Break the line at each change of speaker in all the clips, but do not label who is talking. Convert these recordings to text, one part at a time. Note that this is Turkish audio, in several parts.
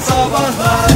sabahlar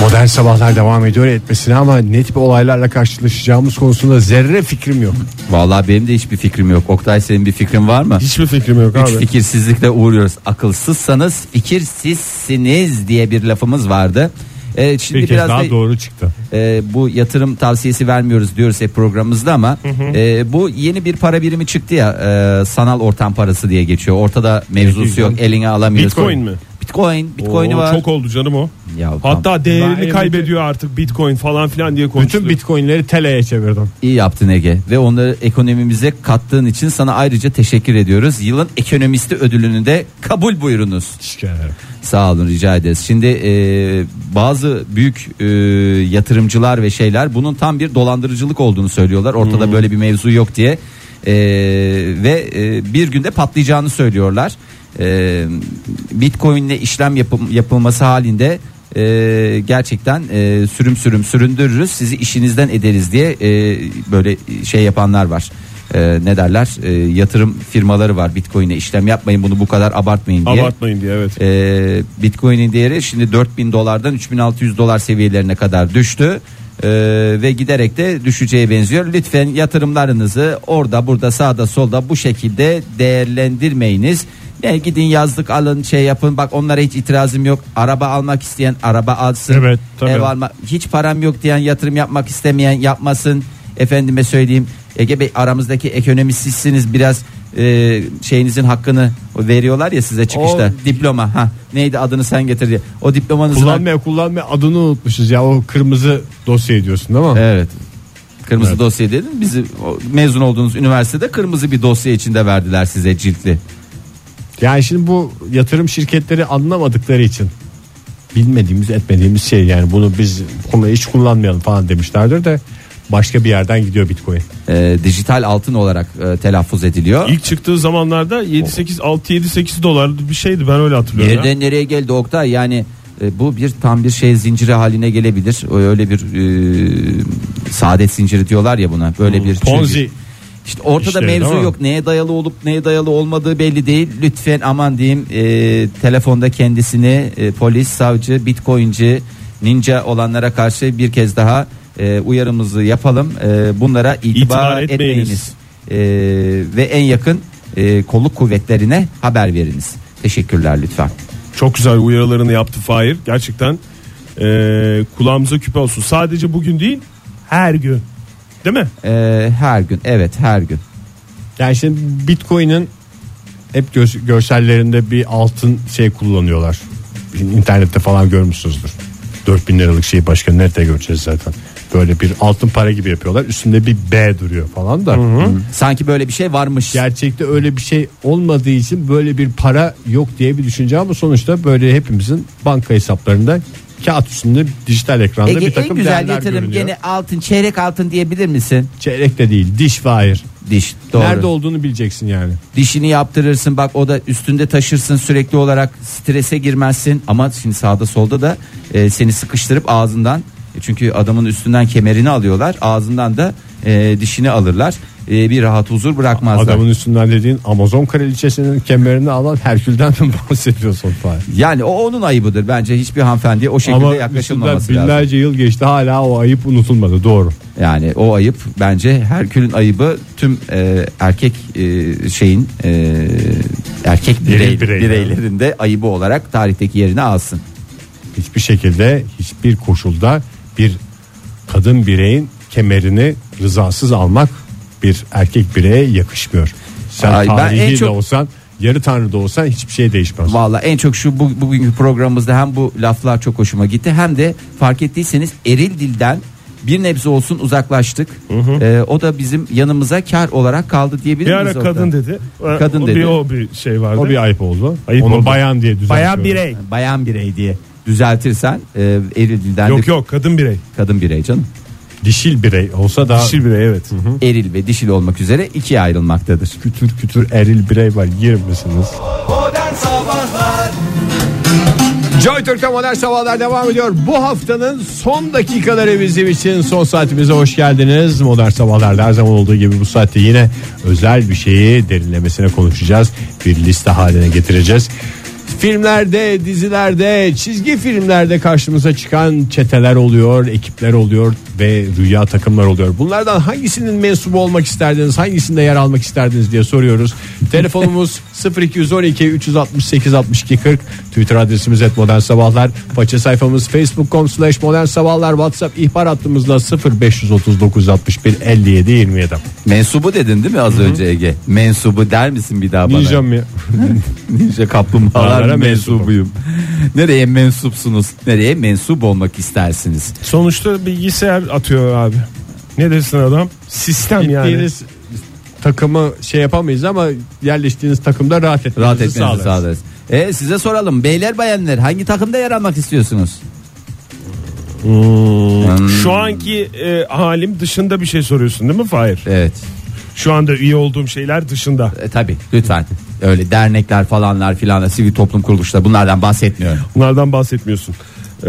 Modern sabahlar devam ediyor etmesine ama net bir olaylarla karşılaşacağımız konusunda zerre fikrim yok.
Vallahi benim de hiçbir fikrim yok. Oktay senin bir fikrin var mı?
Hiçbir fikrim yok
Üç
abi.
fikirsizlikle uğruyoruz. Akılsızsanız fikirsizsiniz diye bir lafımız vardı. Evet, şimdi
Bir kez
biraz
daha
da
doğru çıktı.
e, bu yatırım tavsiyesi vermiyoruz diyoruz hep programımızda ama e, bu yeni bir para birimi çıktı ya e, sanal ortam parası diye geçiyor. Ortada mevzusu yok eline alamıyorsun.
Bitcoin mi?
Bitcoin. Bitcoin'i
Oo,
var.
Çok oldu canım o.
Ya,
Hatta
tam-
değerini
Vay,
kaybediyor artık bitcoin falan filan diye konuşuluyor.
Bütün bitcoinleri TL'ye çevirdim.
İyi yaptın Ege ve onları ekonomimize kattığın için sana ayrıca teşekkür ediyoruz. Yılın ekonomisti ödülünü de kabul buyurunuz. Sağ olun rica ederiz. Şimdi e, bazı büyük e, yatırımcılar ve şeyler bunun tam bir dolandırıcılık olduğunu söylüyorlar. Ortada böyle bir mevzu yok diye. E, ve e, bir günde patlayacağını söylüyorlar. E, Bitcoin'le işlem yapım- yapılması halinde e, gerçekten e, sürüm sürüm süründürürüz sizi işinizden ederiz diye e, böyle şey yapanlar var. E, ne derler E, yatırım firmaları var bitcoin'e işlem yapmayın bunu bu kadar abartmayın diye
Abartmayın diye evet.
ee, Bitcoin'in değeri şimdi 4000 dolardan 3600 dolar seviyelerine kadar düştü. Ee, ve giderek de düşeceğe benziyor. Lütfen yatırımlarınızı orada burada sağda solda bu şekilde değerlendirmeyiniz. Ne gidin yazlık alın şey yapın bak onlara hiç itirazım yok. Araba almak isteyen araba alsın.
Evet, tabii.
Ev alma hiç param yok diyen yatırım yapmak istemeyen yapmasın. Efendime söyleyeyim Ege Bey aramızdaki ekonomistsiniz biraz e, şeyinizin hakkını veriyorlar ya size çıkışta diploma ha neydi adını sen getir diye. O diplomanızı
Kullanmaya kullanmaya adını unutmuşuz ya o kırmızı dosya ediyorsun değil mi?
Evet. Kırmızı dosya dedin. Bizi o, mezun olduğunuz üniversitede kırmızı bir dosya içinde verdiler size ciltli.
Yani şimdi bu yatırım şirketleri anlamadıkları için bilmediğimiz etmediğimiz şey yani bunu biz bunu hiç kullanmayalım falan demişlerdir de başka bir yerden gidiyor bitcoin.
E, dijital altın olarak e, telaffuz ediliyor.
İlk çıktığı zamanlarda 7 8 6 7 8 dolar bir şeydi ben öyle hatırlıyorum. ya.
Nereden nereye geldi Oktay? Yani e, bu bir tam bir şey zinciri haline gelebilir. O Öyle bir e, saadet zinciri diyorlar ya buna. Böyle bir
Hmm,
şey
Ponzi.
İşte ortada
İşleri,
mevzu
değil mi?
yok. Neye dayalı olup neye dayalı olmadığı belli değil. Lütfen aman diyeyim e, telefonda kendisini e, polis, savcı, bitcoinci, ninja olanlara karşı bir kez daha e, uyarımızı yapalım. E, bunlara itibar,
İtibar
etmeyiniz.
etmeyiniz.
E, ve en yakın e, kolluk kuvvetlerine haber veriniz. Teşekkürler lütfen.
Çok güzel uyarılarını yaptı Fahir. Gerçekten eee, kulağımıza küpe olsun. Sadece bugün değil her gün. Değil mi?
Ee, her gün evet her gün.
Yani şimdi Bitcoin'in hep gö- görsellerinde bir altın şey kullanıyorlar. İnternette falan görmüşsünüzdür. 4000 liralık şeyi başka nerede göreceğiz zaten. Böyle bir altın para gibi yapıyorlar. Üstünde bir B duruyor falan da.
Sanki böyle bir şey varmış.
Gerçekte öyle bir şey olmadığı için böyle bir para yok diye bir düşünce ama sonuçta böyle hepimizin banka hesaplarında kağıt üstünde dijital ekranda
Ege
bir
en
takım
güzel
değerler
yatırım
görünüyor.
gene altın çeyrek altın diyebilir misin?
Çeyrek de değil diş ve hayır.
Diş doğru.
Nerede olduğunu bileceksin yani.
Dişini yaptırırsın bak o da üstünde taşırsın sürekli olarak strese girmezsin ama şimdi sağda solda da e, seni sıkıştırıp ağzından e, çünkü adamın üstünden kemerini alıyorlar ağzından da e, dişini alırlar E, bir rahat huzur bırakmazlar.
Adamın üstünden dediğin Amazon kraliçesinin kemerini alan Herkül'den mi bahsediyorsun Fahir?
Yani o onun ayıbıdır bence hiçbir hanımefendiye o şekilde
Ama üstünden
yaklaşılmaması lazım.
binlerce yıl geçti hala o ayıp unutulmadı doğru.
Yani o ayıp bence Herkül'ün ayıbı tüm e, erkek e, şeyin e, erkek birey,
Birey- bireyler.
bireylerinde ayıbı olarak tarihteki yerini alsın.
Hiçbir şekilde hiçbir koşulda bir kadın bireyin kemerini rızasız almak bir erkek bireye yakışmıyor. Sen
Ay, ben en
tarihi de
çok-
olsan yarı tanrı da olsan hiçbir şey değişmez.
Valla en çok şu bu, bugünkü programımızda hem bu laflar çok hoşuma gitti hem de fark ettiyseniz eril dilden bir nebze olsun uzaklaştık. E, o da bizim yanımıza kar olarak kaldı diyebilir
Bir
miyiz?
ara
orada?
kadın dedi. Ee,
Kadın
o
dedi.
Bir, o bir şey vardı.
o bir ayıp oldu.
Ayıp
Onu
oldu.
bayan diye düzeltiyorum.
Bayan birey.
Bayan birey diye düzeltirsen e, eril dilden
Yok
de
yok kadın birey.
kadın birey canım.
Dişil birey olsa da
Dişil birey evet.
Eril ve dişil olmak üzere ikiye ayrılmaktadır.
kütür kütür eril birey var yer misiniz?
Modern Sabahlar
Joy Türk'te modern sabahlar devam ediyor. Bu haftanın son dakikaları bizim için son saatimize hoş geldiniz. Modern sabahlarda her zaman olduğu gibi bu saatte yine özel bir şeyi derinlemesine konuşacağız. Bir liste haline getireceğiz. Filmlerde, dizilerde, çizgi filmlerde karşımıza çıkan çeteler oluyor, ekipler oluyor ve rüya takımlar oluyor. Bunlardan hangisinin mensubu olmak isterdiniz, hangisinde yer almak isterdiniz diye soruyoruz. Telefonumuz 0212 368 62 40. Twitter adresimiz et modern sabahlar. Faça sayfamız facebook.com slash modern sabahlar. WhatsApp ihbar hattımızla 0539 61 57 27.
Mensubu dedin değil mi az önce Ege? Mensubu der misin bir daha bana?
Ninja mı?
Ninja kaplumbağalara
Dağlara
mensubuyum. Nereye mensupsunuz? Nereye mensup olmak istersiniz?
Sonuçta bilgisayar atıyor abi. Ne desin adam? Sistem yani.
Gittiğiniz takımı şey yapamayız ama yerleştiğiniz takımda rahat etmenizi,
Rahat etmenizi
sağlarız.
sağlarız. E, size soralım beyler bayanlar hangi takımda yer almak istiyorsunuz? Hmm.
Şu anki e, halim dışında bir şey soruyorsun değil mi Fahir?
Evet.
Şu anda üye olduğum şeyler dışında.
E, tabii lütfen. Öyle dernekler falanlar filan sivil toplum kuruluşları bunlardan bahsetmiyorum.
Bunlardan bahsetmiyorsun. Ee,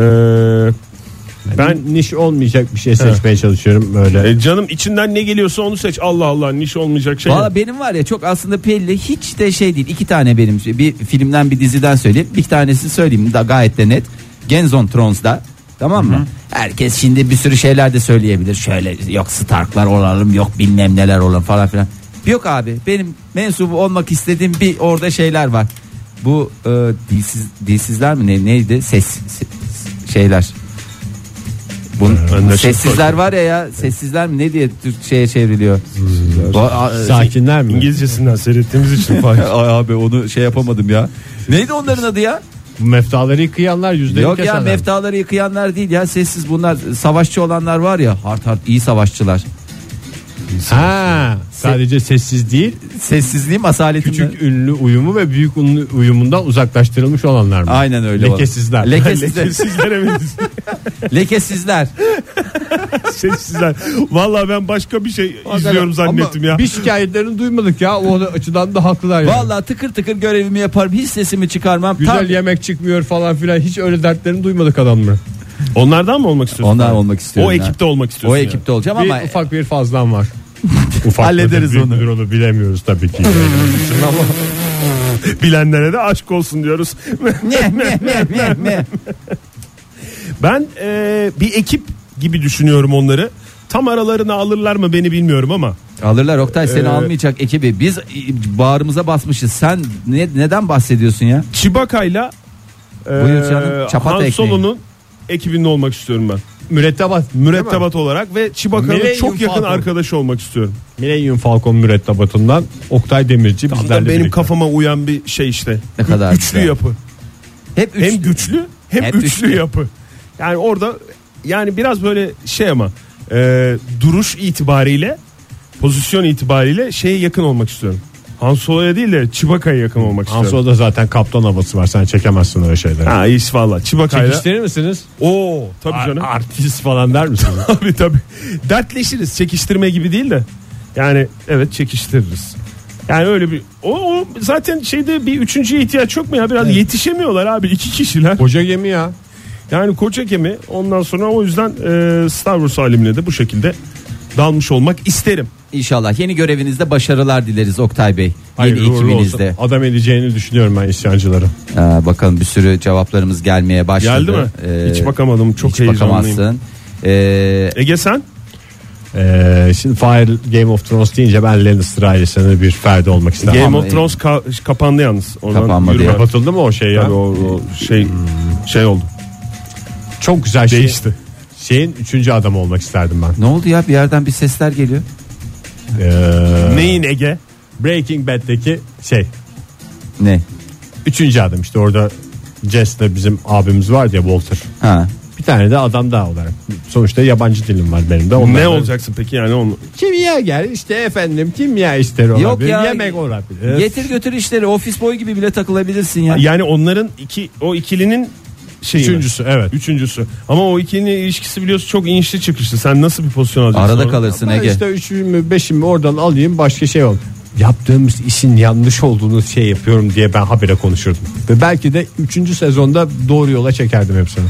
ben
Ben niş olmayacak bir şey seçmeye çalışıyorum böyle.
e, canım içinden ne geliyorsa onu seç. Allah Allah niş olmayacak şey.
Valla benim var ya çok aslında belli hiç de şey değil. iki tane benim şey- bir filmden bir diziden söyleyeyim. Bir tanesi söyleyeyim da gayet de net. Games on Thrones'da tamam mı? Herkes şimdi bir sürü şeyler de söyleyebilir. Şöyle yok Stark'lar olalım yok bilmem neler olalım falan filan. Yok abi benim mensubu olmak istediğim bir orada şeyler var. Bu e, dilsiz, dilsizler mi ne, neydi? Ses, ses- şeyler. Bun,
Ee, ben de çok
sessizler var ya ya sessizler mi ne diye Türkçe'ye çevriliyor. Bu- a-
E, Sakinler mi?
İngilizcesinden seyrettiğimiz için Fahir.
Ay abi onu şey yapamadım ya. Neydi onların adı ya?
Meftaları yıkayanlar yüzde
Yok ya meftaları yıkayanlar değil ya sessiz bunlar savaşçı olanlar var ya hard hard iyi savaşçılar.
Ha, sadece sessiz değil
Sessizliğim asaletim.
küçük
mi?
ünlü uyumu ve büyük ünlü uyumundan uzaklaştırılmış olanlar mı?
Aynen öyle. olan.
Lekesizler.
Lekesizler.
Sizlere mi?
Lekesizler.
Sessizler. Valla ben başka bir şey izliyorum zannettim ya.
Bir şikayetlerini duymadık ya o açıdan da haklılar yani.
Vallahi tıkır tıkır görevimi yaparım. Hiç sesimi çıkarmam.
Güzel
Tam-
yemek çıkmıyor falan filan hiç öyle dertlerini duymadık adamların.
Onlardan mı olmak istiyorsun?
Ondan
Fahir?
olmak istiyorum
O
ya.
ekipte olmak
o
istiyorsun. yani.
ekipte olacağım
Bir
ama
ufak bir fazlan var. ufak
Hallederiz
mıdır,
onu.
büyük müdür onu bilemiyoruz tabii ki.
Bilenlere de aşk olsun diyoruz.
ne ne ne ne ne.
Ben e, bir ekip gibi düşünüyorum onları. Tam aralarına alırlar mı beni bilmiyorum ama.
Alırlar Oktay seni
Ee,
almayacak ekibi. Biz e, bağrımıza basmışız. Sen ne, neden bahsediyorsun ya?
Çibaka'yla e,
Buyur canım, çapata
Han
ekmeği.
Solo'nun ekibinde olmak istiyorum ben.
Mürettebat.
Mürettebat olarak ve Çibaka'nın
Millennium
çok yakın
Falcon.
arkadaşı olmak istiyorum.
Millennium Falcon mürettebatından Oktay Demirci
Tam
bizlerle
da benim
birlikte.
kafama uyan bir şey işte.
Ne kadar
Üçlü
güzel.
yapı.
Hep üç.
Hem güçlü hem
Hep
üçlü,
üçlü.
yapı. Yani orada yani biraz böyle şey ama e, duruş itibariyle pozisyon itibariyle şeye yakın olmak istiyorum. Han Solo'ya değil de Çibaka'ya yakın olmak
Han
istiyorum.
Solo'da zaten kaptan havası var. Sen çekemezsin öyle şeyleri.
Ha iş valla. Çibaka'yla.
Çekiştirir misiniz?
Oo tabii
Ar-
canım.
artist falan der misiniz?
tabii tabii. Dertleşiriz. Çekiştirme gibi değil de. Yani evet çekiştiririz. Yani öyle bir o, o zaten şeyde bir üçüncüye ihtiyaç yok mu ya biraz yetişemiyorlar abi iki kişiler.
Koca gemi ya.
Yani koca gemi ondan sonra o yüzden e, Star Wars halimle de bu şekilde dalmış olmak isterim.
İnşallah yeni görevinizde başarılar dileriz Oktay Bey.
Hayırlı
yeni
uğurlu olsun.
ekibinizde.
Adam edeceğini düşünüyorum ben isyancıları.
Aa, Ee, bakalım bir sürü cevaplarımız gelmeye başladı.
Geldi mi?
Ee,
hiç bakamadım çok
hiç
heyecanlıyım.
bakamazsın. Ee,
Ege sen?
Ee, şimdi Fire Game of Thrones deyince ben Lannister ailesine bir ferdi olmak isterim.
Game
Ege.
of Thrones ka- kapandı yalnız. Oradan
Kapanmadı
yürüme.
ya. Hmm.
Kapatıldı mı o şey ya?
Yani o, o şey şey oldu.
Çok güzel şey.
Değişti.
Şeyin üçüncü adamı olmak isterdim ben.
ne oldu ya bir yerden bir sesler geliyor.
Ee,
Neyin Ege?
Breaking Bad'deki şey.
Ne?
Üçüncü adam işte orada Jess'le bizim abimiz vardı ya Walter.
Ha.
Bir tane de adam daha olarak. Sonuçta yabancı dilim var benim de.
ne
Onlardan-
olacaksın peki yani onu?
Kimya gel işte efendim kimya işleri olabilir.
Yok ya.
Yemek olabilir.
Getir götür işleri ofis boy gibi bile takılabilirsin ya.
Yani onların iki o ikilinin şeyi mi?
Üçüncüsü evet.
Üçüncüsü. Ama o ikilinin ilişkisi biliyorsun çok inişli çıkışlı. Sen nasıl bir pozisyon alacaksın?
Arada
orada?
kalırsın
Ben
Ege.
işte üçümü beşimi oradan alayım başka şey ol. yaptığımız işin yanlış olduğunu şey yapıyorum diye ben habire konuşurdum. Ve belki de 3. sezonda doğru yola çekerdim hepsini.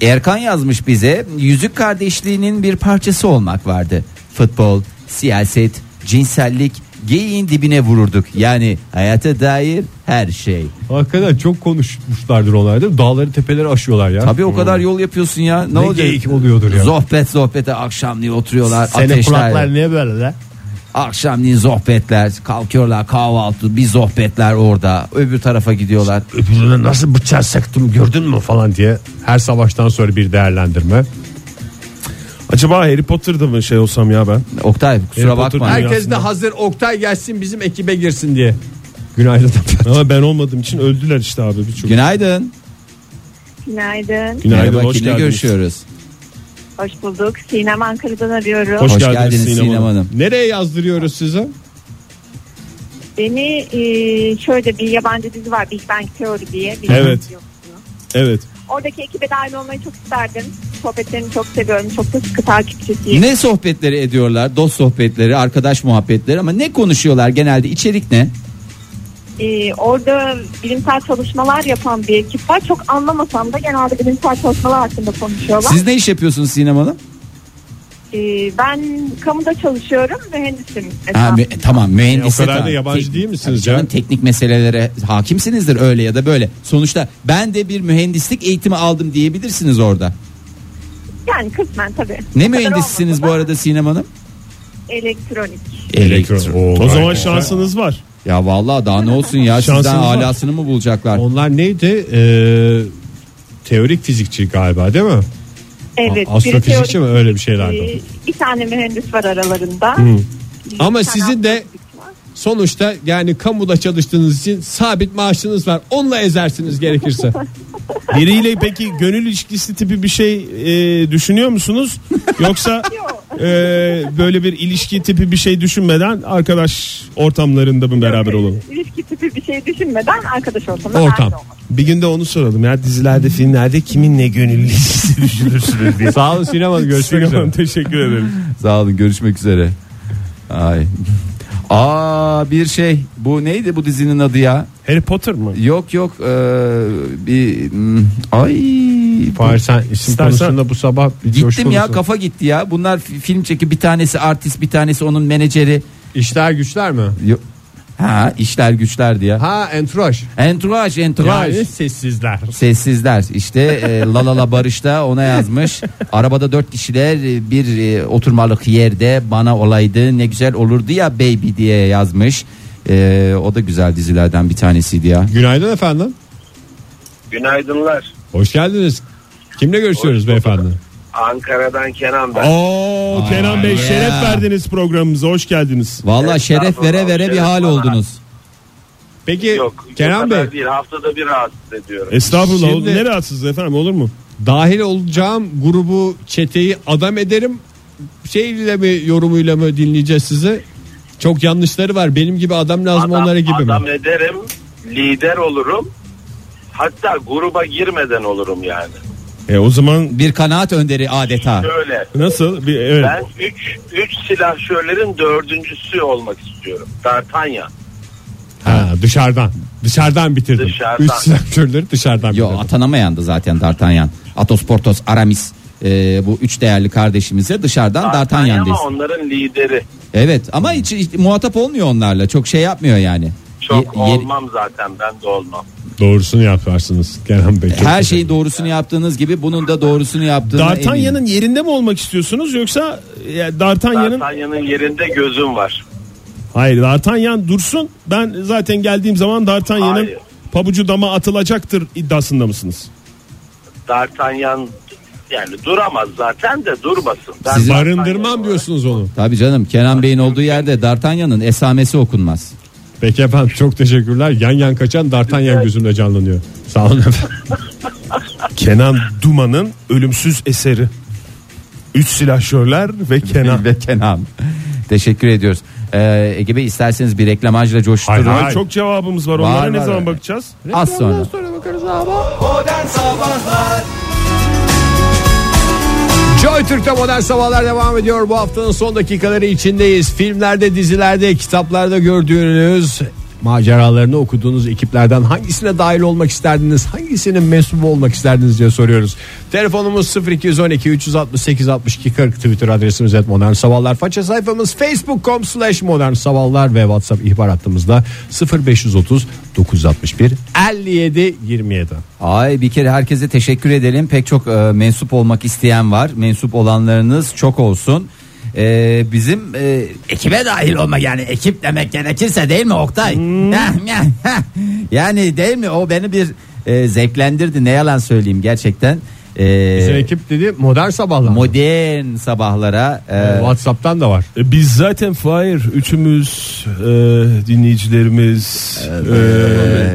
Ee, Erkan yazmış bize yüzük kardeşliğinin bir parçası olmak vardı. Futbol, siyaset, cinsellik, geyiğin dibine vururduk. Yani hayata dair her şey.
Hakikaten çok konuşmuşlardır onlar değil mi? Dağları tepeleri aşıyorlar ya.
Tabii o kadar yol yapıyorsun ya. Ne,
Ne
olacak?
geyik oluyordur ya.
Sohbet sohbete akşamleyin oturuyorlar.
Senin kulaklar
ateşler.
niye böyle la?
Akşamleyin sohbetler. Kalkıyorlar kahvaltı bir sohbetler orada. Öbür tarafa gidiyorlar.
Öbürüne nasıl bıçağı sıktım gördün mü falan diye. Her savaştan sonra bir değerlendirme.
Acaba Harry Potter'da mı şey olsam ya ben?
Oktay kusura
Harry Potter
bakma.
dünyasında.
Herkes de hazır Oktay gelsin bizim ekibe girsin diye. Günaydın.
Ama ben olmadığım için öldüler işte abi birçok.
Günaydın.
Günaydın.
Günaydın
Merhaba,
hoş
kimle
geldiniz.
görüşüyoruz?
Hoş bulduk. Sinem Ankara'dan arıyorum.
Hoş,
Hoş
geldiniz,
geldiniz
Sinem,
Sinem
Hanım.
Hanım.
Nereye yazdırıyoruz sizi?
Beni e, şöyle bir yabancı dizi var Big Bang Theory diye. Bir
Evet. Evet.
Oradaki ekibe dahil olmayı çok isterdim. Sohbetlerini çok seviyorum. Çok da sıkı takipçisiyim.
Ne sohbetleri ediyorlar? Dost sohbetleri, arkadaş muhabbetleri ama ne konuşuyorlar genelde? içerik ne?
E, orada bilimsel çalışmalar yapan bir ekip var. Çok anlamasam da genelde bilimsel çalışmalar hakkında konuşuyorlar.
Siz ne iş yapıyorsunuz Sinem Hanım?
E, ben kamuda çalışıyorum. Mühendisim.
Ha, mü- tamam mühendis.
E, o kadar da yabancı değil misiniz
Canım
canım?
teknik meselelere hakimsinizdir öyle ya da böyle. Sonuçta ben de bir mühendislik eğitimi aldım diyebilirsiniz orada.
Yani kısmen tabii.
Ne
O kadar
mühendissiniz bu
olmasa da
arada Sinem Hanım?
Elektronik.
Elektro.
O zaman şansınız var.
Ya vallahi daha ne olsun ya
Şansınız
sizden
var.
alasını mı bulacaklar?
Onlar neydi? Ee, teorik fizikçi galiba değil mi?
Evet. biri
Astrofizikçi
teorik-
mi öyle bir şeylerdi.
Ee, bir tane mühendis var aralarında. Bir
Ama
tane
sizin de-
astrofizikçi var.
Sonuçta yani kamuda çalıştığınız için sabit maaşınız var. Onunla ezersiniz gerekirse.
Biriyle peki gönül ilişkisi tipi bir şey e, düşünüyor musunuz? Yoksa
Yok.
e, böyle bir ilişki tipi bir şey düşünmeden arkadaş ortamlarında mı beraber olalım?
İlişki tipi bir şey düşünmeden arkadaş ortamında
Ortam.
dahil olmak.
Bir gün de onu soralım ya dizilerde filmlerde kiminle gönül ilişkisi düşünürsünüz diye.
Sağ olun Sinem Hanım görüşmek
Sinem Hanım,
üzere.
teşekkür ederim.
Sağ olun görüşmek üzere. Ay. Aa bir şey bu neydi bu dizinin adı ya?
Harry Potter mı?
Yok yok eee, bir hmm, ay
Fahir sen isim
İstersen-
konusunda bu sabah bir
gittim ya
coşkulusun.
kafa gitti ya. Bunlar fi- film çeki bir tanesi artist bir tanesi onun menajeri.
İşler güçler mi?
Yo- Ha işler güçler diye.
Ha entroj.
Entourage entourage.
sessizler.
Sessizler işte e, La La La Barış da ona yazmış arabada dört kişiler e, bir e, oturmalık yerde bana olaydı ne güzel olurdu ya baby diye yazmış E, o da güzel dizilerden bir tanesiydi ya
Günaydın efendim.
Günaydınlar.
Hoş geldiniz. Kimle görüşüyoruz beyefendi?
Ankara'dan Kenan ben.
Oo Kenan Bey
ya.
şeref verdiniz programımıza hoş geldiniz.
Valla
Evet,
şeref vere
estağfurullah,
vere bir
şeref
hal
bana.
oldunuz
Peki
Yok.
Kenan
o kadar
Bey E,
Değil, haftada bir rahatsız ediyorum.
Estağfurullah
Şimdi-
ne rahatsız efendim olur mu?
dahil olacağım grubu çeteyi adam ederim şeyle mi yorumuyla mı dinleyeceğiz sizi? Çok yanlışları var. Benim gibi adam lazım onlara gibi
adam
mi?
ederim. Lider olurum. Hatta gruba girmeden olurum yani.
E o zaman
bir kanaat önderi adeta
Şöyle.
nasıl? Bir, evet.
Ben 3 3 silahşörlerin dördüncüsü olmak istiyorum. D'Artagnan.
Ha, dışarıdan. Dışarıdan bitirdim.
Dışarıdan.
Üç silahçörleri dışarıdan
Yo
bitirdim.
atanamayandı zaten D'Artagnan Atos Portos Aramis e, bu üç değerli kardeşimize dışarıdan
D'Artagnan
D'Artagnan'dayız
ama onların lideri.
evet ama hiç, hiç muhatap olmuyor onlarla çok şey yapmıyor yani
Çok
Ye- ye-
olmam zaten ben de olmam.
Doğrusunu yaparsınız Kenan Bey. Çok
Her şeyin doğrusunu yaptığınız gibi bunun da doğrusunu yaptığına eminim.
D'Artagnan'ın yerinde mi olmak istiyorsunuz yoksa e, D'Artagnan'ın
D'Artagnan'ın yerinde gözüm var.
Hayır D'Artagnan dursun. Ben zaten geldiğim zaman D'Artagnan'ın
Hayır.
pabucu dama atılacaktır iddiasında mısınız?
D'Artagnan yani duramaz zaten de durmasın. Ben
Sizi-
D'Artagnan
Barındırmam
olarak-
diyorsunuz onu.
Tabii canım Kenan Bey'in olduğu yerde D'Artagnan'ın esamesi okunmaz.
Peki efendim çok teşekkürler. Yan yan kaçan D'Artagnan gözümde canlanıyor. Sağ olun efendim.
Kenan Duman'ın ölümsüz eseri. Üç silahşörler ve Kenan.
Ve Kenan. Teşekkür ediyoruz. Ee, Ege Bey isterseniz bir reklamajla coşturun.
Ay, çok cevabımız var. Onlara
Var,
ne
var,
zaman
var.
bakacağız?
Az sonra.
Joy Türk'te modern sabahlar devam ediyor. Bu haftanın son dakikaları içindeyiz. Filmlerde, dizilerde, kitaplarda gördüğünüz maceralarını okuduğunuz ekiplerden hangisine dahil olmak isterdiniz? Hangisinin mensubu olmak isterdiniz diye soruyoruz. Telefonumuz 0212 368 62 40 Twitter adresimiz et modern sabahlar. Faça sayfamız facebook.com slash modern sabahlar ve whatsapp ihbar hattımızda 0530 961 57 27.
Ay bir kere herkese teşekkür edelim. Pek çok e, mensup olmak isteyen var. Mensup olanlarınız çok olsun. E, bizim e, ekibe dahil olma yani ekip demek gerekirse değil mi Oktay?
Hmm.
Heh, heh, heh. yani değil mi o beni bir e, zevklendirdi ne yalan söyleyeyim gerçekten. E,
Bizim ekip dedi modern sabahlar.
modern sabahlara e,
Whatsapp'tan da var.
E, Biz zaten Fahir üçümüz e, dinleyicilerimiz e,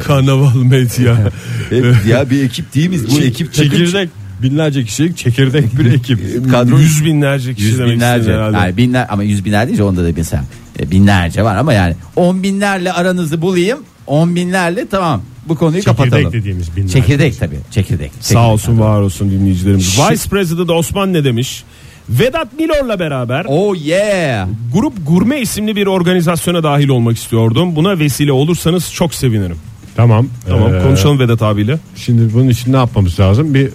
karnaval medya
e, ya bir ekip değil miyiz bu ekip takım-
çekirdek binlerce kişilik çekirdek bir ekip
Kadro-
yüz binlerce kişi
Yüz
demek
binlerce.
istedin herhalde.
Yani binler ama yüz binler deyince onda da bilsem. E, binlerce var ama yani on binlerle aranızı bulayım. On binlerle tamam bu konuyu kapatalım.
dediğimiz binlerce.
Çekirdek tabii. Çekirdek.
Sağ
Çekirdek. Şey-
olsun var olsun dinleyicilerimiz.
Şi-
Vice President Osman ne demiş? Vedat Milor'la beraber
Oh yeah.
Grup Gurme isimli bir organizasyona dahil olmak istiyordum. Buna vesile olursanız çok sevinirim.
Tamam.
Tamam
Ee,
konuşalım Vedat abiyle.
Şimdi bunun için ne yapmamız lazım? Bir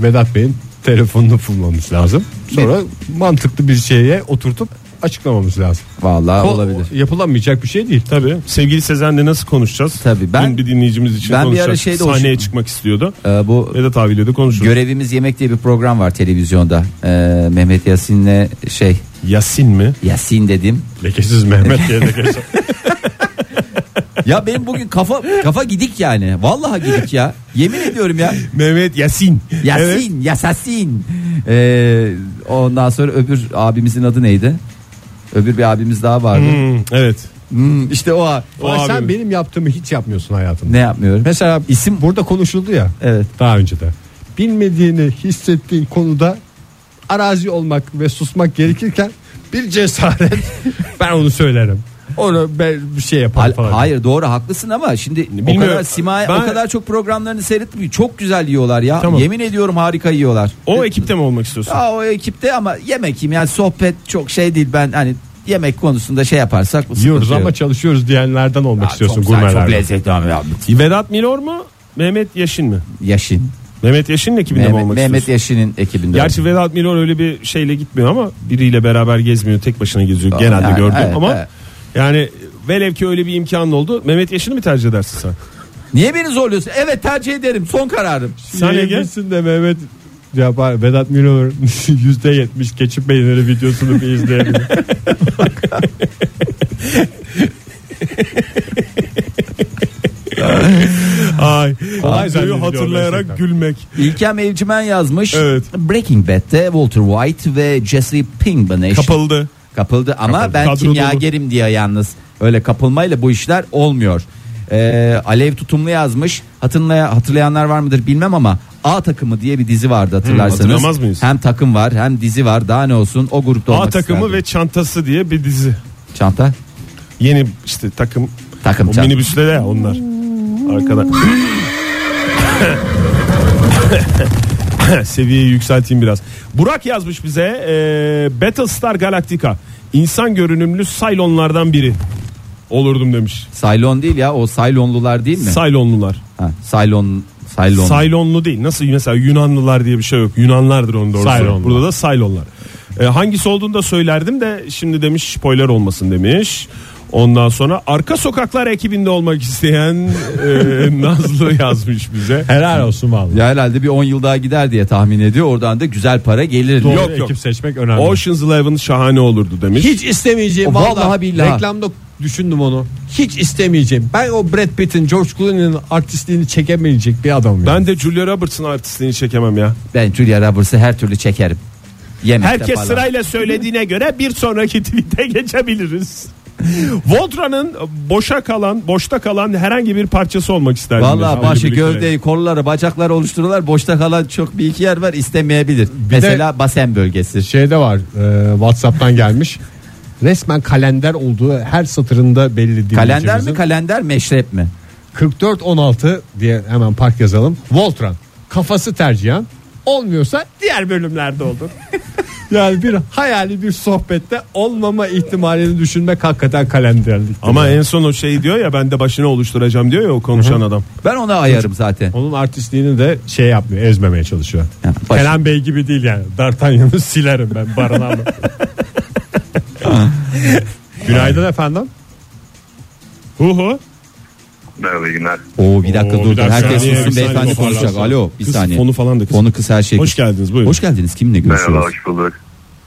Vedat Bey'in telefonunu bulmamız lazım. Sonra mantıklı bir şeye oturtup açıklamamız lazım.
Vallahi
O-
olabilir.
o Yapılamayacak bir şey değil.
Tabii. Sevgili Sezen'le nasıl konuşacağız?
Tabii, ben-
Dün bir dinleyicimiz için
ben bir ara şey
konuşacağız.
şeyde
Sahneye
hoş-
çıkmak istiyordu.
Ee, bu
Vedat abiyle de konuşuruz.
görevimiz yemek diye bir program var televizyonda. Ee, Mehmet Yasin'le şey
Yasin mi?
Yasin dedim.
Lekesiz Mehmet diye de geçer.
ya benim bugün kafa kafa gidik yani. Vallahi gidik ya. Yemin ediyorum ya.
Mehmet Yasin.
Yasin, Yasasin. Ee, ondan sonra öbür abimizin adı neydi? Öbür bir abimiz daha vardı.
Hmm, evet.
Hmm, işte o a-
O
Ama sen
abimiz.
benim yaptığımı hiç yapmıyorsun hayatımda.
ne yapmıyorum?
Mesela isim burada konuşuldu ya.
Evet.
Daha önce de. Bilmediğini hissettiğin konuda arazi olmak ve susmak gerekirken bir cesaret ben onu söylerim. Onu ben bir şey yaparım
Hal-
falan.
hayır doğru haklısın ama şimdi o
Bilmiyorum.
kadar Simay o
Ben-
kadar çok programlarını seyrettim. Çok güzel yiyorlar ya.
Tamam.
Yemin ediyorum harika yiyorlar.
O ekipte mi olmak istiyorsun?
Ee, Aa, o ekipte ama yemek yiyeyim yani sohbet çok şey değil ben hani yemek konusunda şey yaparsak sıkıntı
Yiyoruz
yok.
ama çalışıyoruz diyenlerden olmak
Aa,
istiyorsun
çok güzel, Çok
gurmelerden.
lezzetli ama ya.
Vedat Milor mu? Mehmet Yaşin mi?
Yaşin.
Mehmet Yaşin'in ekibinde mi
Mehmet,
olmak
Mehmet
istiyorsun?
Yaşin'in ekibinde.
Gerçi Vedat Milor öyle bir şeyle gitmiyor ama biriyle beraber gezmiyor. Tek başına geziyor.
Doğru,
Genelde
yani,
gördüm
evet,
ama
evet.
yani velev ki öyle bir imkanın oldu. Mehmet Yaşin'i mi tercih edersin sen?
Niye beni zorluyorsun? Evet tercih ederim. Son kararım.
Sen Ege?
Yiyebilirsin de Mehmet yapar. Vedat Milor %70 keçi peyniri videosunu bir izleyelim.
Ay,
Ay, sen de
videoyu
biliyorum
hatırlayarak
gerçekten.
gülmek.
İlkem Evcimen yazmış.
Evet.
Breaking Bad'de Walter White ve Jesse Pinkman eşlik-
Kapıldı.
Kapıldı ama
Kapıldı.
ben
Kadro
kimyagerim diye yalnız. Öyle kapılmayla bu işler olmuyor. Ee, Alev Tutumlu yazmış. Hatırlaya, hatırlayanlar var mıdır bilmem ama A takımı diye bir dizi vardı hatırlarsanız.
Hmm, hatırlamaz mıyız?
Hem takım var hem dizi var. Daha ne olsun o grupta olmak
A takımı
isterdim.
ve çantası diye bir dizi.
çanta.
Yeni işte takım.
Takım
o
çanta.
minibüsle de ya onlar. Arkadan. Seviyeyi yükselteyim biraz. Burak yazmış bize e, Battlestar Galactica. İnsan görünümlü Cylonlardan biri olurdum demiş.
Saylon değil ya o Saylonlular değil mi?
Cylonlular.
ha, Saylon Saylon.
Saylonlu değil. Nasıl mesela Yunanlılar diye bir şey yok. Yunanlardır onun doğrusu.
Saylonlu.
Burada da Saylonlar. E, hangisi olduğunu da söylerdim de şimdi demiş spoiler olmasın demiş. Ondan sonra arka sokaklar ekibinde olmak isteyen e, Nazlı yazmış bize.
Helal olsun vallahi.
Ya herhalde bir 10 yıl daha gider diye tahmin ediyor. Oradan da güzel para gelir.
Doğru
Yok, yok.
ekip seçmek önemli.
Ocean's Eleven şahane olurdu demiş.
Hiç istemeyeceğim
O
vallahi,
vallahi billahi.
Reklamda düşündüm onu. Hiç istemeyeceğim. Ben o Brad Pitt'in George Clooney'nin artistliğini çekemeyecek bir adamım.
Ben de Julia Roberts'ın artistliğini çekemem ya.
Ben Julia Roberts'ı her türlü çekerim. Yemekte
Herkes
falan.
sırayla söylediğine göre bir sonraki tweet'e geçebiliriz. Voltra'nın boşa kalan, boşta kalan herhangi bir parçası olmak isterdim.
Valla
Mesela
başı
öyle birlikte.
gövdeyi kolları bacakları oluştururlar boşta kalan çok bir iki yer var istemeyebilir. Mesela basen bölgesi.
Şeyde var e, Whatsapp'tan gelmiş. Resmen kalender olduğu her satırında belli
Kalender mi
dinleyicimizin.
kalender meşrep mi?
44-16 diye hemen park yazalım. Voltran. Kafası tercihen. Olmuyorsa diğer bölümlerde olur. yani bir hayali bir sohbette olmama ihtimalini düşünmek hakikaten kalenderlik.
Ama en son o şey diyor ya ben de başını oluşturacağım diyor ya o konuşan adam.
Ben ona ayarım zaten.
onun artistliğini de şey yapmıyor ezmemeye çalışıyor.
Ya, baş-
Kenan Bey gibi değil yani. D'Artagnan'ı silerim ben barınağımı. Günaydın efendim.
Hu hu.
Merhaba günler.
Oo bir dakika
Oo,
dur.
bir dakika.
Herkes
Saniye,
sussun
bir saniye
beyefendi konuşacak.
toparlansın.
Alo bir
Kız,
saniye.
fonu falan da kız.
Fonu kız her şey.
Hoş
kız.
geldiniz buyurun.
Hoş geldiniz. Kimle
Merhaba
görüşüyoruz?
hoş bulduk.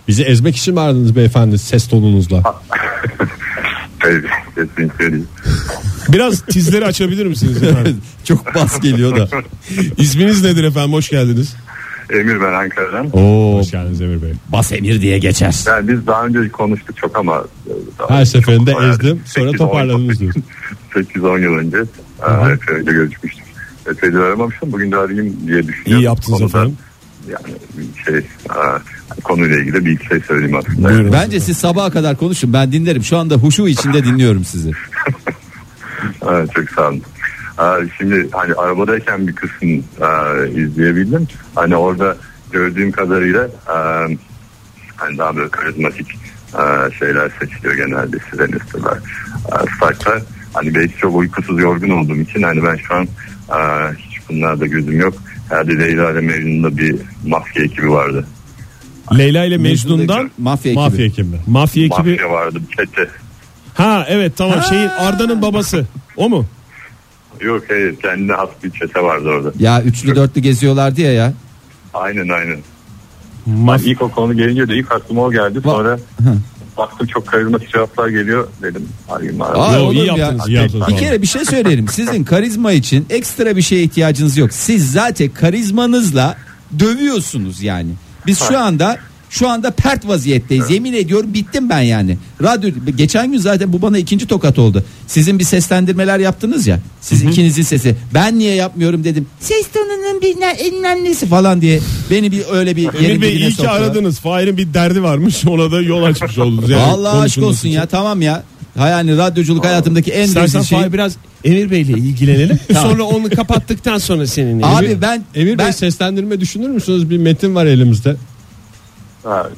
Bizi ezmek için mi aradınız beyefendi ses tonunuzla?
Evet, sesini söyleyeyim.
Biraz tizleri açabilir misiniz efendim?
Çok bas geliyor da.
İsminiz nedir efendim hoş geldiniz.
Emir ben Ankara'dan.
Oo
Hoş geldiniz Emir Bey.
bas emir diye geçer.
Yani biz daha önce konuştuk çok ama e,
Her seferinde ezdim sonra toparladınız diyor.
8-10 yıl önce e, Efe'yle görüşmüştük. Efe'yle aramamıştım. Bugün de arayayım diye
İyi
düşünüyorum.
yaptınız
Konuda
efendim.
Yani şey e, konuyla ilgili bir iki şey söyleyeyim aslında.
Buyurun.
Bence siz sabaha kadar konuşun ben dinlerim. Şu anda huşu içinde dinliyorum sizi.
Evet, çok sağ olun. Ee, Şimdi hani arabadayken bir kısım e, izleyebildim. Hani orada gördüğüm kadarıyla e, hani daha böyle karizmatik e, şeyler seçiliyor genelde Silenistler. Starklar hani belki çok uykusuz yorgun olduğum için hani ben şu an e, hiç bunlarda gözüm yok. Herhalde Leyla ile Mecnun'da bir mafya ekibi vardı.
Leyla ile Mecnun'dan
mafya ekibi.
Mafya ekibi.
mafya ekibi.
Mafya vardı bir çete.
Ha evet tamam şeyin Arda'nın babası. O mu?
Yok hayır kendine has bir çete vardı orada.
Ya üçlü dörtlü geziyorlardı ya ya.
Aynen aynen.
Maf-
İlk o konu gelince de ilk aklıma o geldi. Sonra
Hı.
baktım çok karizmatik cevaplar geliyor dedim. Arayayım abi.
Aa,
Yo,
olur
iyi
mu
yaptınız,
ya.
iyi yaptınız.
Bir kere bir şey söylerim. Sizin karizma için ekstra bir şeye ihtiyacınız yok. Siz zaten karizmanızla dövüyorsunuz yani. Biz şu anda şu anda pert vaziyetteyiz. Yemin ediyorum bittim ben yani. Radyo geçen gün zaten bu bana ikinci tokat oldu. Sizin bir seslendirmeler yaptınız ya. Siz ikinizin sesi. Ben niye yapmıyorum dedim. Ses tonunun bilmem bilmem nesi falan diye beni bir öyle bir yerin
Emir
dibine
Bey iyi ki
soktular.
aradınız. Fahir'in bir derdi varmış. Ona da yol açmış oldunuz. Yani
Allah aşk
konuşmanız
olsun
için.
ya tamam ya. Ha Yani radyoculuk hayatımdaki en
İstersen
rezil şey.
Fahir biraz Emir Bey'le ilgilenelim. Sonra onu kapattıktan sonra seninle.
Abi ben
Emir
ben,
Bey seslendirme düşünür müsünüz? Bir metin var elimizde.
Ha,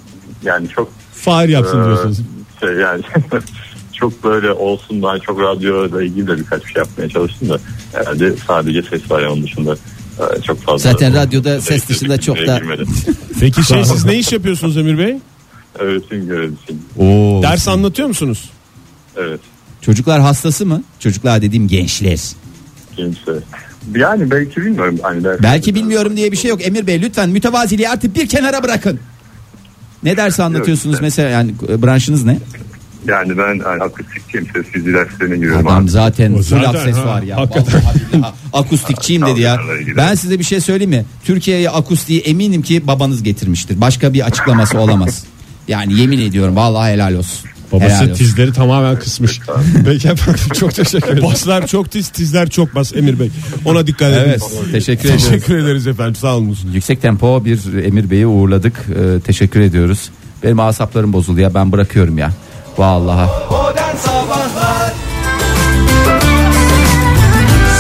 yani çok
Fahir yapsın
e,
diyorsunuz.
şey yani çok böyle olsun ben çok radyoyla ilgili de birkaç bir şey yapmaya çalıştım da herhalde sadece ses var ya onun dışında e, çok fazla.
Zaten radyoda ses dışında çok da-
Girmedim.
Peki şey siz ne iş yapıyorsunuz Emir Bey?
Öğretim görevlisiyim.
Ders anlatıyor musunuz?
Evet.
Çocuklar hastası mı? Çocuklar dediğim gençler.
Kimse. Yani belki bilmiyorum. Hani ders-
Belki bilmiyorum diye bir şey yok. Emir Bey lütfen mütevaziliği artık bir kenara bırakın. Ne dersi anlatıyorsunuz
Yok,
mesela yani e, branşınız ne?
Yani ben hani, akustikçiyim. Sesli derslerine giriyorum.
Adam
abi.
zaten full
zaten,
ses
ha,
var ya.
hakikaten.
Vallahi billahi. Akustikçiyim dedi ya.
Çalgılarla ilgili.
Ben size bir şey söyleyeyim mi? Türkiye'ye akustiği eminim ki babanız getirmiştir. Başka bir açıklaması olamaz. Yani yemin ediyorum vallahi helal olsun.
Babası
helal olsun.
tizleri tamamen kısmış. Peki efendim çok teşekkür ederim.
Baslar çok tiz, tizler çok bas Emir Bey. Ona dikkat edin.
Evet, teşekkür ederim.
Teşekkür ederiz efendim. Sağ olun.
Yüksek tempo bir Emir Bey'i uğurladık. Ee, teşekkür ediyoruz. Benim asaplarım bozuldu ya ben bırakıyorum ya. Vallahi.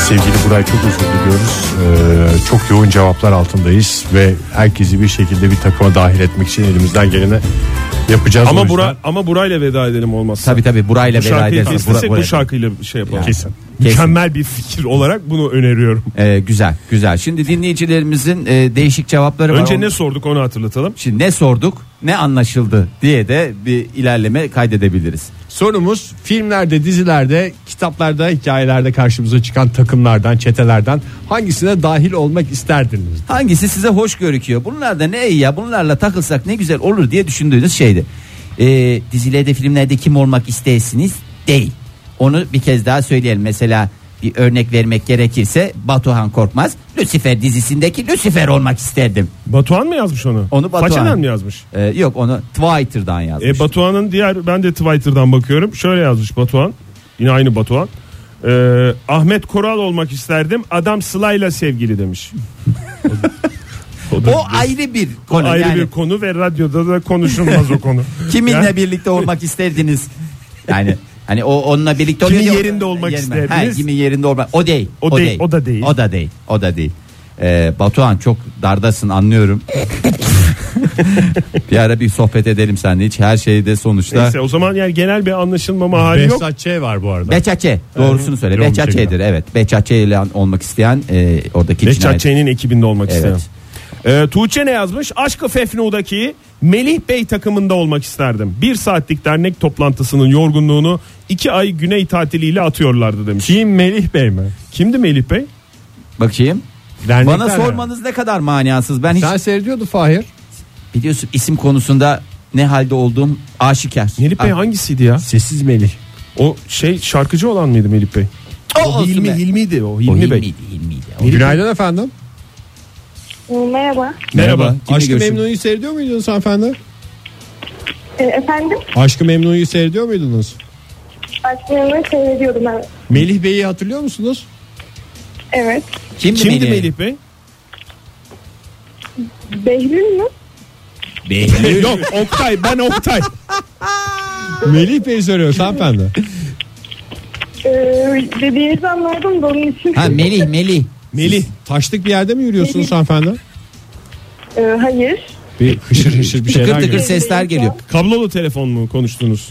Sevgili Buray çok özür diliyoruz. Ee, çok yoğun cevaplar altındayız ve herkesi bir şekilde bir takıma dahil etmek için elimizden geleni yapacağız. O
Ama
yüzden
Bura ama Buray'la veda edelim olmazsa.
Tabi tabi burayla
Bu
veda
şarkıyı
edersin.
kestirsek
Bura-
bu şarkıyla şey yapalım.
kesin.
Mükemmel bir fikir olarak bunu öneriyorum.
Ee, güzel güzel. Şimdi dinleyicilerimizin e, değişik cevapları var.
Önce
Onu-
ne sorduk onu hatırlatalım.
Şimdi ne sorduk ne anlaşıldı diye de bir ilerleme kaydedebiliriz.
Sorumuz filmlerde, dizilerde, kitaplarda, hikayelerde karşımıza çıkan takımlardan, çetelerden hangisine dahil olmak isterdiniz?
Hangisi size hoş görüküyor? Bunlar da ne iyi ya bunlarla takılsak ne güzel olur diye düşündüğünüz şeydi. Ee, dizilerde filmlerde kim olmak istersiniz? Değil. Onu bir kez daha söyleyelim. Mesela bir örnek vermek gerekirse Batuhan Korkmaz Lucifer dizisindeki Lucifer olmak isterdim.
Batuhan mı yazmış onu?
Onu Batuhan.
Façeden mi yazmış?
Ee, yok onu Twitter'dan yazmış.
E, Batuhan'ın diğer ben de Twitter'dan bakıyorum. Şöyle yazmış Batuhan. Yine aynı Batuhan. Ee, Ahmet Koral olmak isterdim. Adam Sıla'yla sevgili demiş.
o ayrı bir konu.
Ayrı
yani
bir konu ve radyoda da konuşulmaz o konu.
kiminle
Yani-
birlikte olmak isterdiniz? Yani hani o onunla birlikte
Kimin
oluyor ya,
yerinde olmak
yerine-
isterdiniz?
Ha, kimin yerinde olmak? O değil.
O değil, o da değil.
O da değil. O da değil. Ee, Batuhan çok dardasın anlıyorum. bir ara bir sohbet edelim seninle hiç her şeyde sonuçta.
Neyse o zaman yani genel bir anlaşılmama hali yok.
Behzat Ç var bu arada.
Beçaçe doğrusunu söyle.
Yok,
Beçaçe'dir evet. Beçaçe ile olmak isteyen e, oradaki
Behzat
cinayet-
Ç'nin ekibinde olmak
Evet.
istedim. Ee, Tuğçe ne yazmış? Aşkı Fefnu'daki Melih Bey takımında olmak isterdim. Bir saatlik dernek toplantısının yorgunluğunu iki ay güney tatiliyle atıyorlardı demiş.
Kim Melih Bey mi?
Kimdi Melih Bey?
Bakayım.
Dernekler
Bana
mi?
sormanız ne kadar manasız. Ben hiç
Sen seyrediyordu Fahir.
biliyorsun isim konusunda ne halde olduğum aşikar.
Melih Bey
Ah,
hangisiydi ya?
Sessiz Melih.
O şey şarkıcı olan mıydı Melih Bey?
o olsun
Hilmi,
be.
Hilmi'ydi o.
O
Hilmi Bey.
Hilmi'ydi, Hilmi'ydi. O-
Günaydın efendim.
Merhaba.
Merhaba.
Kimle
Aşkı
görüşüyorsun?
Memnu'yu seyrediyor muydunuz hanımefendi?
E, efendim?
Aşkı Memnu'yu seyrediyor muydunuz?
Başlarını seyrediyordum ben.
Melih Bey'i hatırlıyor musunuz?
Evet.
Kimdi,
Kimdi
Melih?
Melih Bey?
Behlül mü?
Behlül.
Yok Oktay ben Oktay.
Melih Bey soruyor hanımefendi.
E, dediğinizi anladım da onun için.
Ha Melih Melih.
Melih. Taşlık bir yerde mi yürüyorsunuz hanımefendi?
E, hayır.
Bir hışır hışır bir
Tıkır
şeyler
tıkır
geliyor.
sesler geliyor.
Kablolu telefon mu konuştunuz?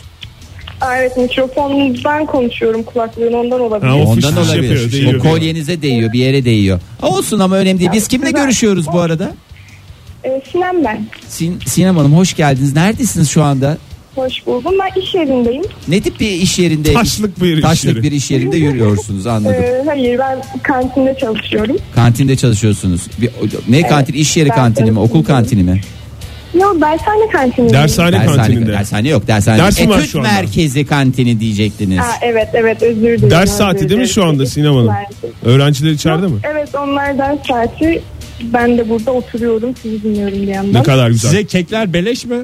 Aa, evet mikrofondan konuşuyorum kulaklığın ondan olabilir.
Ha, o fış
Ondan
fış yapıyor,
olabilir.
değiyor.
o kolyenize değiyor bir yere değiyor. Olsun ama önemli değil. Biz kimle görüşüyoruz bu arada?
E, Sinem ben.
Sin Sinem Hanım hoş geldiniz. Neredesiniz şu anda?
Hoş buldum. Ben iş yerindeyim.
Ne tip bir iş yerinde?
Taşlık bir iş
Taşlık
yeri.
bir iş yerinde yürüyorsunuz anladım.
E, hayır ben kantinde çalışıyorum.
Kantinde çalışıyorsunuz. Bir, ne kantin? İş yeri
Ben-
kantini mi? Okul
Evet.
kantini mi?
Yo dershane kantinindeyim.
Dershane
Dershane,
kantininde.
dershane yok. Dershane.
Dersim var
Etüt
şu anda.
merkezi kantini diyecektiniz.
Aa, evet evet özür dilerim.
Ders
özür
saati değil mi
dilerim.
şu anda Sinem Hanım?
Ders-
Öğrenciler içeride mi?
Evet onlar ders saati. Ben de burada oturuyorum sizi dinliyorum bir yandan.
Ne kadar güzel.
Size kekler beleş mi?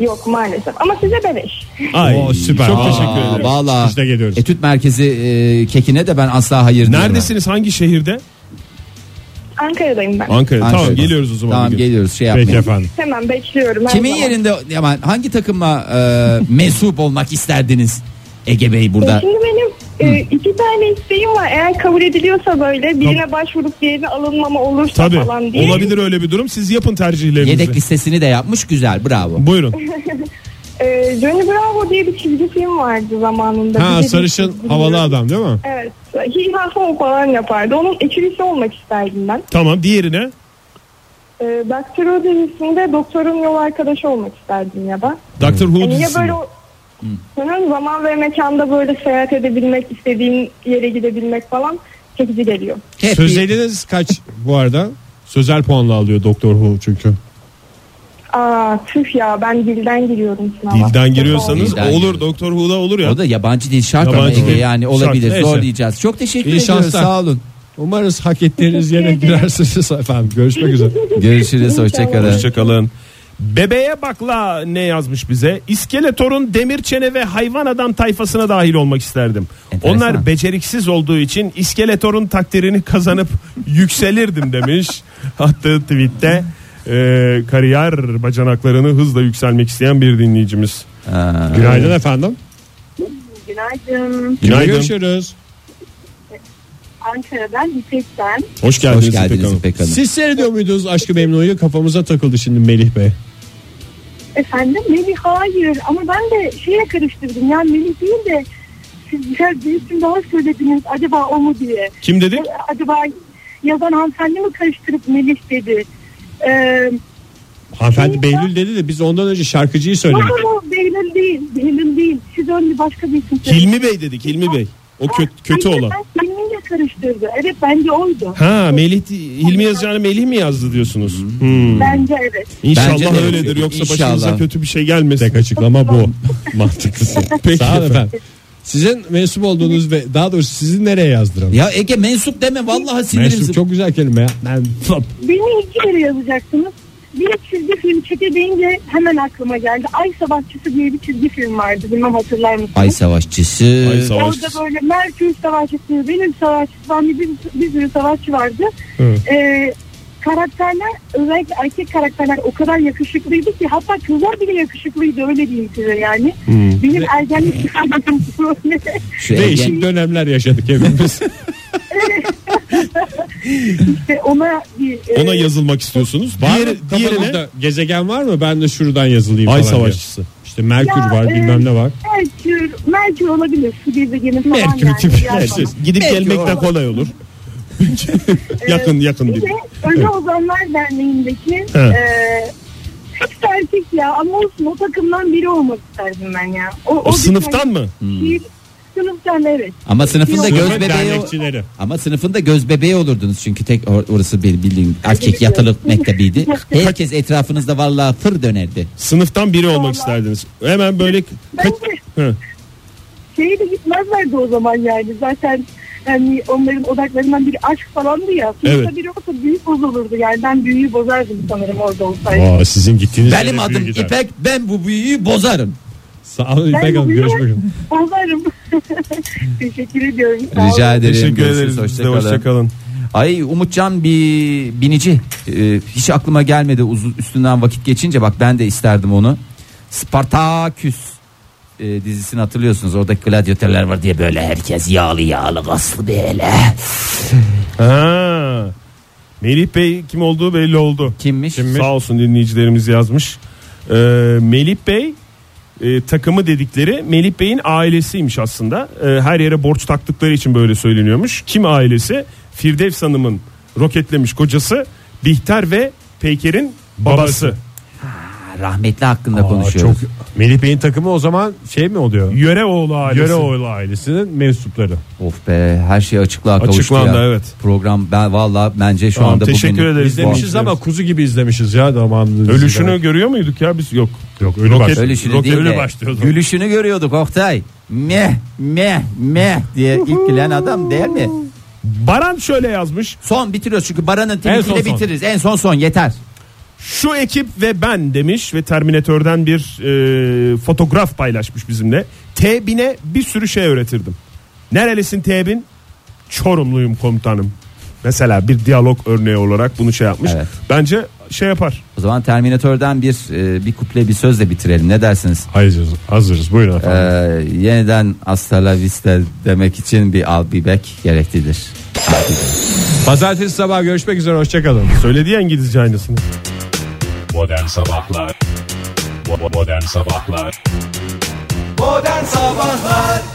Yok maalesef ama size beleş.
Ay,
Oo, süper.
Çok
Aa,
teşekkür ederim.
Valla.
Biz de geliyoruz.
Etüt merkezi e, kekine de ben asla hayır diyemem.
Neredesiniz? Hangi şehirde?
Ankara'dayım ben.
Ankara'da. Tamam
Ankara'da.
geliyoruz o zaman.
Tamam
Bir gün.
geliyoruz şey
Peki
yapmayalım.
efendim.
Hemen bekliyorum. her
Kimin
zaman.
yerinde hemen hangi takıma e, mensup olmak isterdiniz? Ege Bey burada.
Şimdi benim e, iki tane isteğim var. Eğer kabul ediliyorsa böyle birine başvurup diğerine alınmama olursa
Tabii.
falan diye.
Olabilir öyle bir durum. Siz yapın tercihlerinizi.
Yedek listesini de yapmış güzel bravo.
Buyurun.
E, Johnny Bravo diye bir çizgi film vardı zamanında. Bir
Ha
de bir
sarışın
çizgi
havalı
film.
adam değil mi?
Evet. Hilha Ho falan yapardı. Onun ekibisi olmak isterdim ben.
tamam diğerine.
E, Doktor dizisinde doktorun yol arkadaşı olmak isterdim ya da.
Doctor
E,
Who
Yani ya
dizisi.
böyle o- Hı, zaman ve mekanda böyle seyahat edebilmek, istediğin yere gidebilmek falan çekici geliyor.
Hep bir-
Sözeliniz kaç bu arada? Sözel puanla alıyor Doktor Who çünkü.
Aa tüh ya ben dilden giriyorum sınava.
Dilden giriyorsanız
Dilden
olur.
giriyoruz.
Doktor Who'da olur ya.
O da yabancı değil şart ama
Yabancı
Ege
değil.
yani
Şart,
olabilir
neyse.
zor diyeceğiz. Çok teşekkür
İyi
ediyoruz
şanslar.
sağ olun.
Umarız hak ettiğiniz yere girersiniz efendim. Görüşmek üzere.
Görüşürüz hoşçakalın.
Hoşçakalın. Bebeğe bakla ne yazmış bize? İskeletor'un demir çene ve hayvan adam tayfasına dahil olmak isterdim.
Enteresan.
Onlar beceriksiz olduğu için İskeletor'un takdirini kazanıp yükselirdim demiş. Attığı tweette e, kariyer bacanaklarını hızla yükselmek isteyen bir dinleyicimiz.
Günaydın efendim.
Günaydın.
Günaydın.
Görüşürüz.
Ankara'dan İpek'ten.
Hoş geldiniz,
Hoş geldiniz
İpek Hanım.
İpek Hanım.
Siz seyrediyor muydunuz Aşkı Memnu'yu? Kafamıza takıldı şimdi Melih Bey.
Efendim Melih hayır ama ben de şeye karıştırdım yani Melih değil de siz güzel bir isim daha söylediniz acaba o mu diye.
Kim dedi?
Acaba yazan hanımefendi mi karıştırıp Melih dedi. Ee,
Hanımefendi Behlül dedi de biz ondan önce şarkıcıyı
yok
söyledik.
ama Behlül değil, Behlül değil. Siz önce başka bir isim söylediniz.
Hilmi Bey dedik Hilmi Bey. O kötü, kötü
Hayır,
olan.
Ben Hilmi'yle karıştırdı. Evet bence oydu.
Ha Melih Hilmi yazacağını Melih mi yazdı diyorsunuz? Hmm.
Bence evet.
Bence
İnşallah
de
öyledir
yazıyor.
yoksa başınıza
İnşallah.
kötü bir şey gelmesin.
Tek açıklama bu. Mantıklısı.
Peki
Sağ olun
efendim.
efendim. Sizin mensup olduğunuz ve daha doğrusu sizi nereye yazdıralım?
Ya Ege mensup deme vallahi sinirimizi.
Mensup çok güzel kelime ya.
Beni iki yere yazacaksınız. Bir çizgi film çeke deyince hemen aklıma geldi. Ay Savaşçısı diye bir çizgi film vardı. Bilmem hatırlar mısınız?
Ay savaşçısı.
Ay savaş.
Orada böyle Merkür Savaşçısı, benim savaşçısı, ben bir, bir sürü savaşçı vardı. Ee, karakterler özellikle erkek karakterler o kadar yakışıklıydı ki hatta kızlar bile yakışıklıydı öyle diyeyim size yani.
Hmm.
Benim ergenlik çıkardım böyle.
Şu Ege-
Değişik dönemler yaşadık hepimiz.
İşte ona bir e,
Ona yazılmak istiyorsunuz.
Var
Diğeri-
mı
diğerine-
kafanızda gezegen var mı? Ben de şuradan yazılayım
Ay
falan diye.
savaşçısı.
İşte Merkür
Ya,
var
e,
bilmem ne var.
Merkür, Merkür olabilir. Su gezegeni falan
Merkür
yani.
tipi.
biraz
İşte
ama.
Gidip gelmek de kolay olur. yakın yakın
Bir
bir.
de Ölü Ozanlar Derneği'ndeki
Evet.
e, hepsi erkek ya ama olsun o takımdan biri olmak isterdim ben ya. O,
O sınıftan mı?
Bir, sınıftan evet.
Ama sınıfında
Yok.
göz
Sınıfın
bebeği
dernekçileri.
ama sınıfında göz bebeği olurdunuz çünkü tek or- orası benim bildiğim erkek yatılı mektebiydi. Herkes etrafınızda vallahi fır dönerdi.
Sınıftan biri olmak isterdiniz. Hemen böyle
Ben
kaç-
de
Hı.
şeye de gitmezlerdi o zaman yani. Zaten hani onların odaklarından biri aşk falandı ya. Sınıfta
Evet.
biri olsa büyük bozulurdu yani. Ben büyüğü bozardım sanırım orada olsaydı.
Aa, sizin gittiğiniz
Benim
yere büyü
adım
gider.
İpek ben bu büyüyü bozarım.
Sağ olun
Ben
İpek Hanım
bugün-
görüşmek üzere.
Bozarım. Teşekkür ediyorum. Sağ olun.
Rica ederim.
Teşekkür
Görüşürüz,
ederiz.
hoşça
Hoşça
kalın.
Hoşçakalın.
Ay Umutcan bir binici Ee, hiç aklıma gelmedi uzun üstünden vakit geçince bak ben de isterdim onu. Spartaküs e, dizisini hatırlıyorsunuz. Oradaki gladyatörler var diye böyle herkes yağlı yağlı kaslı böyle.
Ha. Melih Bey kim olduğu belli oldu.
Kimmiş?
Sağ olsun dinleyicilerimiz yazmış. Ee, Melih Bey e, takımı dedikleri Melih Bey'in ailesiymiş aslında. Ee, her yere borç taktıkları için böyle söyleniyormuş. Kim ailesi? Firdevs Hanım'ın roketlemiş kocası Bihter ve Peyker'in babası.
Ha, Rahmetli hakkında
Aa,
konuşuyoruz.
çok Melih Bey'in takımı o zaman şey mi oluyor?
Yöreoğlu ailesi.
Yöreoğlu ailesinin mensupları.
Of be her şey açıklığa kavuştu
Açıklandı,
ya.
evet.
Program ben valla bence şu
Tamam,
anda
teşekkür
bugünün- Bu-
ederiz. Demişiz
İzlemişiz ama kuzu gibi izlemişiz ya zamanında.
Ölüşünü görüyor muyduk ya biz? Yok.
Yok, ölü baş-
Ölüşünü
roket
değil
ölü
de
başlıyordu.
gülüşünü görüyorduk Oktay. Meh meh meh diye ilk gülen adam değil mi?
Baran şöyle yazmış.
Son bitiriyoruz çünkü Baran'ın
son
tepkiyle
son.
bitiririz. En son son yeter.
Şu ekip ve ben demiş ve Terminatör'den bir e, fotoğraf paylaşmış bizimle. T-1000'e bir sürü şey öğretirdim. Nerelisin T-1000? Çorumluyum komutanım. Mesela bir diyalog örneği olarak bunu şey yapmış.
Evet.
Bence şey yapar.
O zaman Terminatör'den bir e, bir kuple bir sözle bitirelim. Ne dersiniz?
Hazırız, hazırız. Buyurun
Ee,
efendim.
yeniden hasta la vista demek için bir al bir bek gereklidir.
Pazartesi sabah görüşmek üzere. Hoşçakalın.
Söyledi ya İngilizce aynısını.
Modern Sabahlar Modern Sabahlar
Modern Sabahlar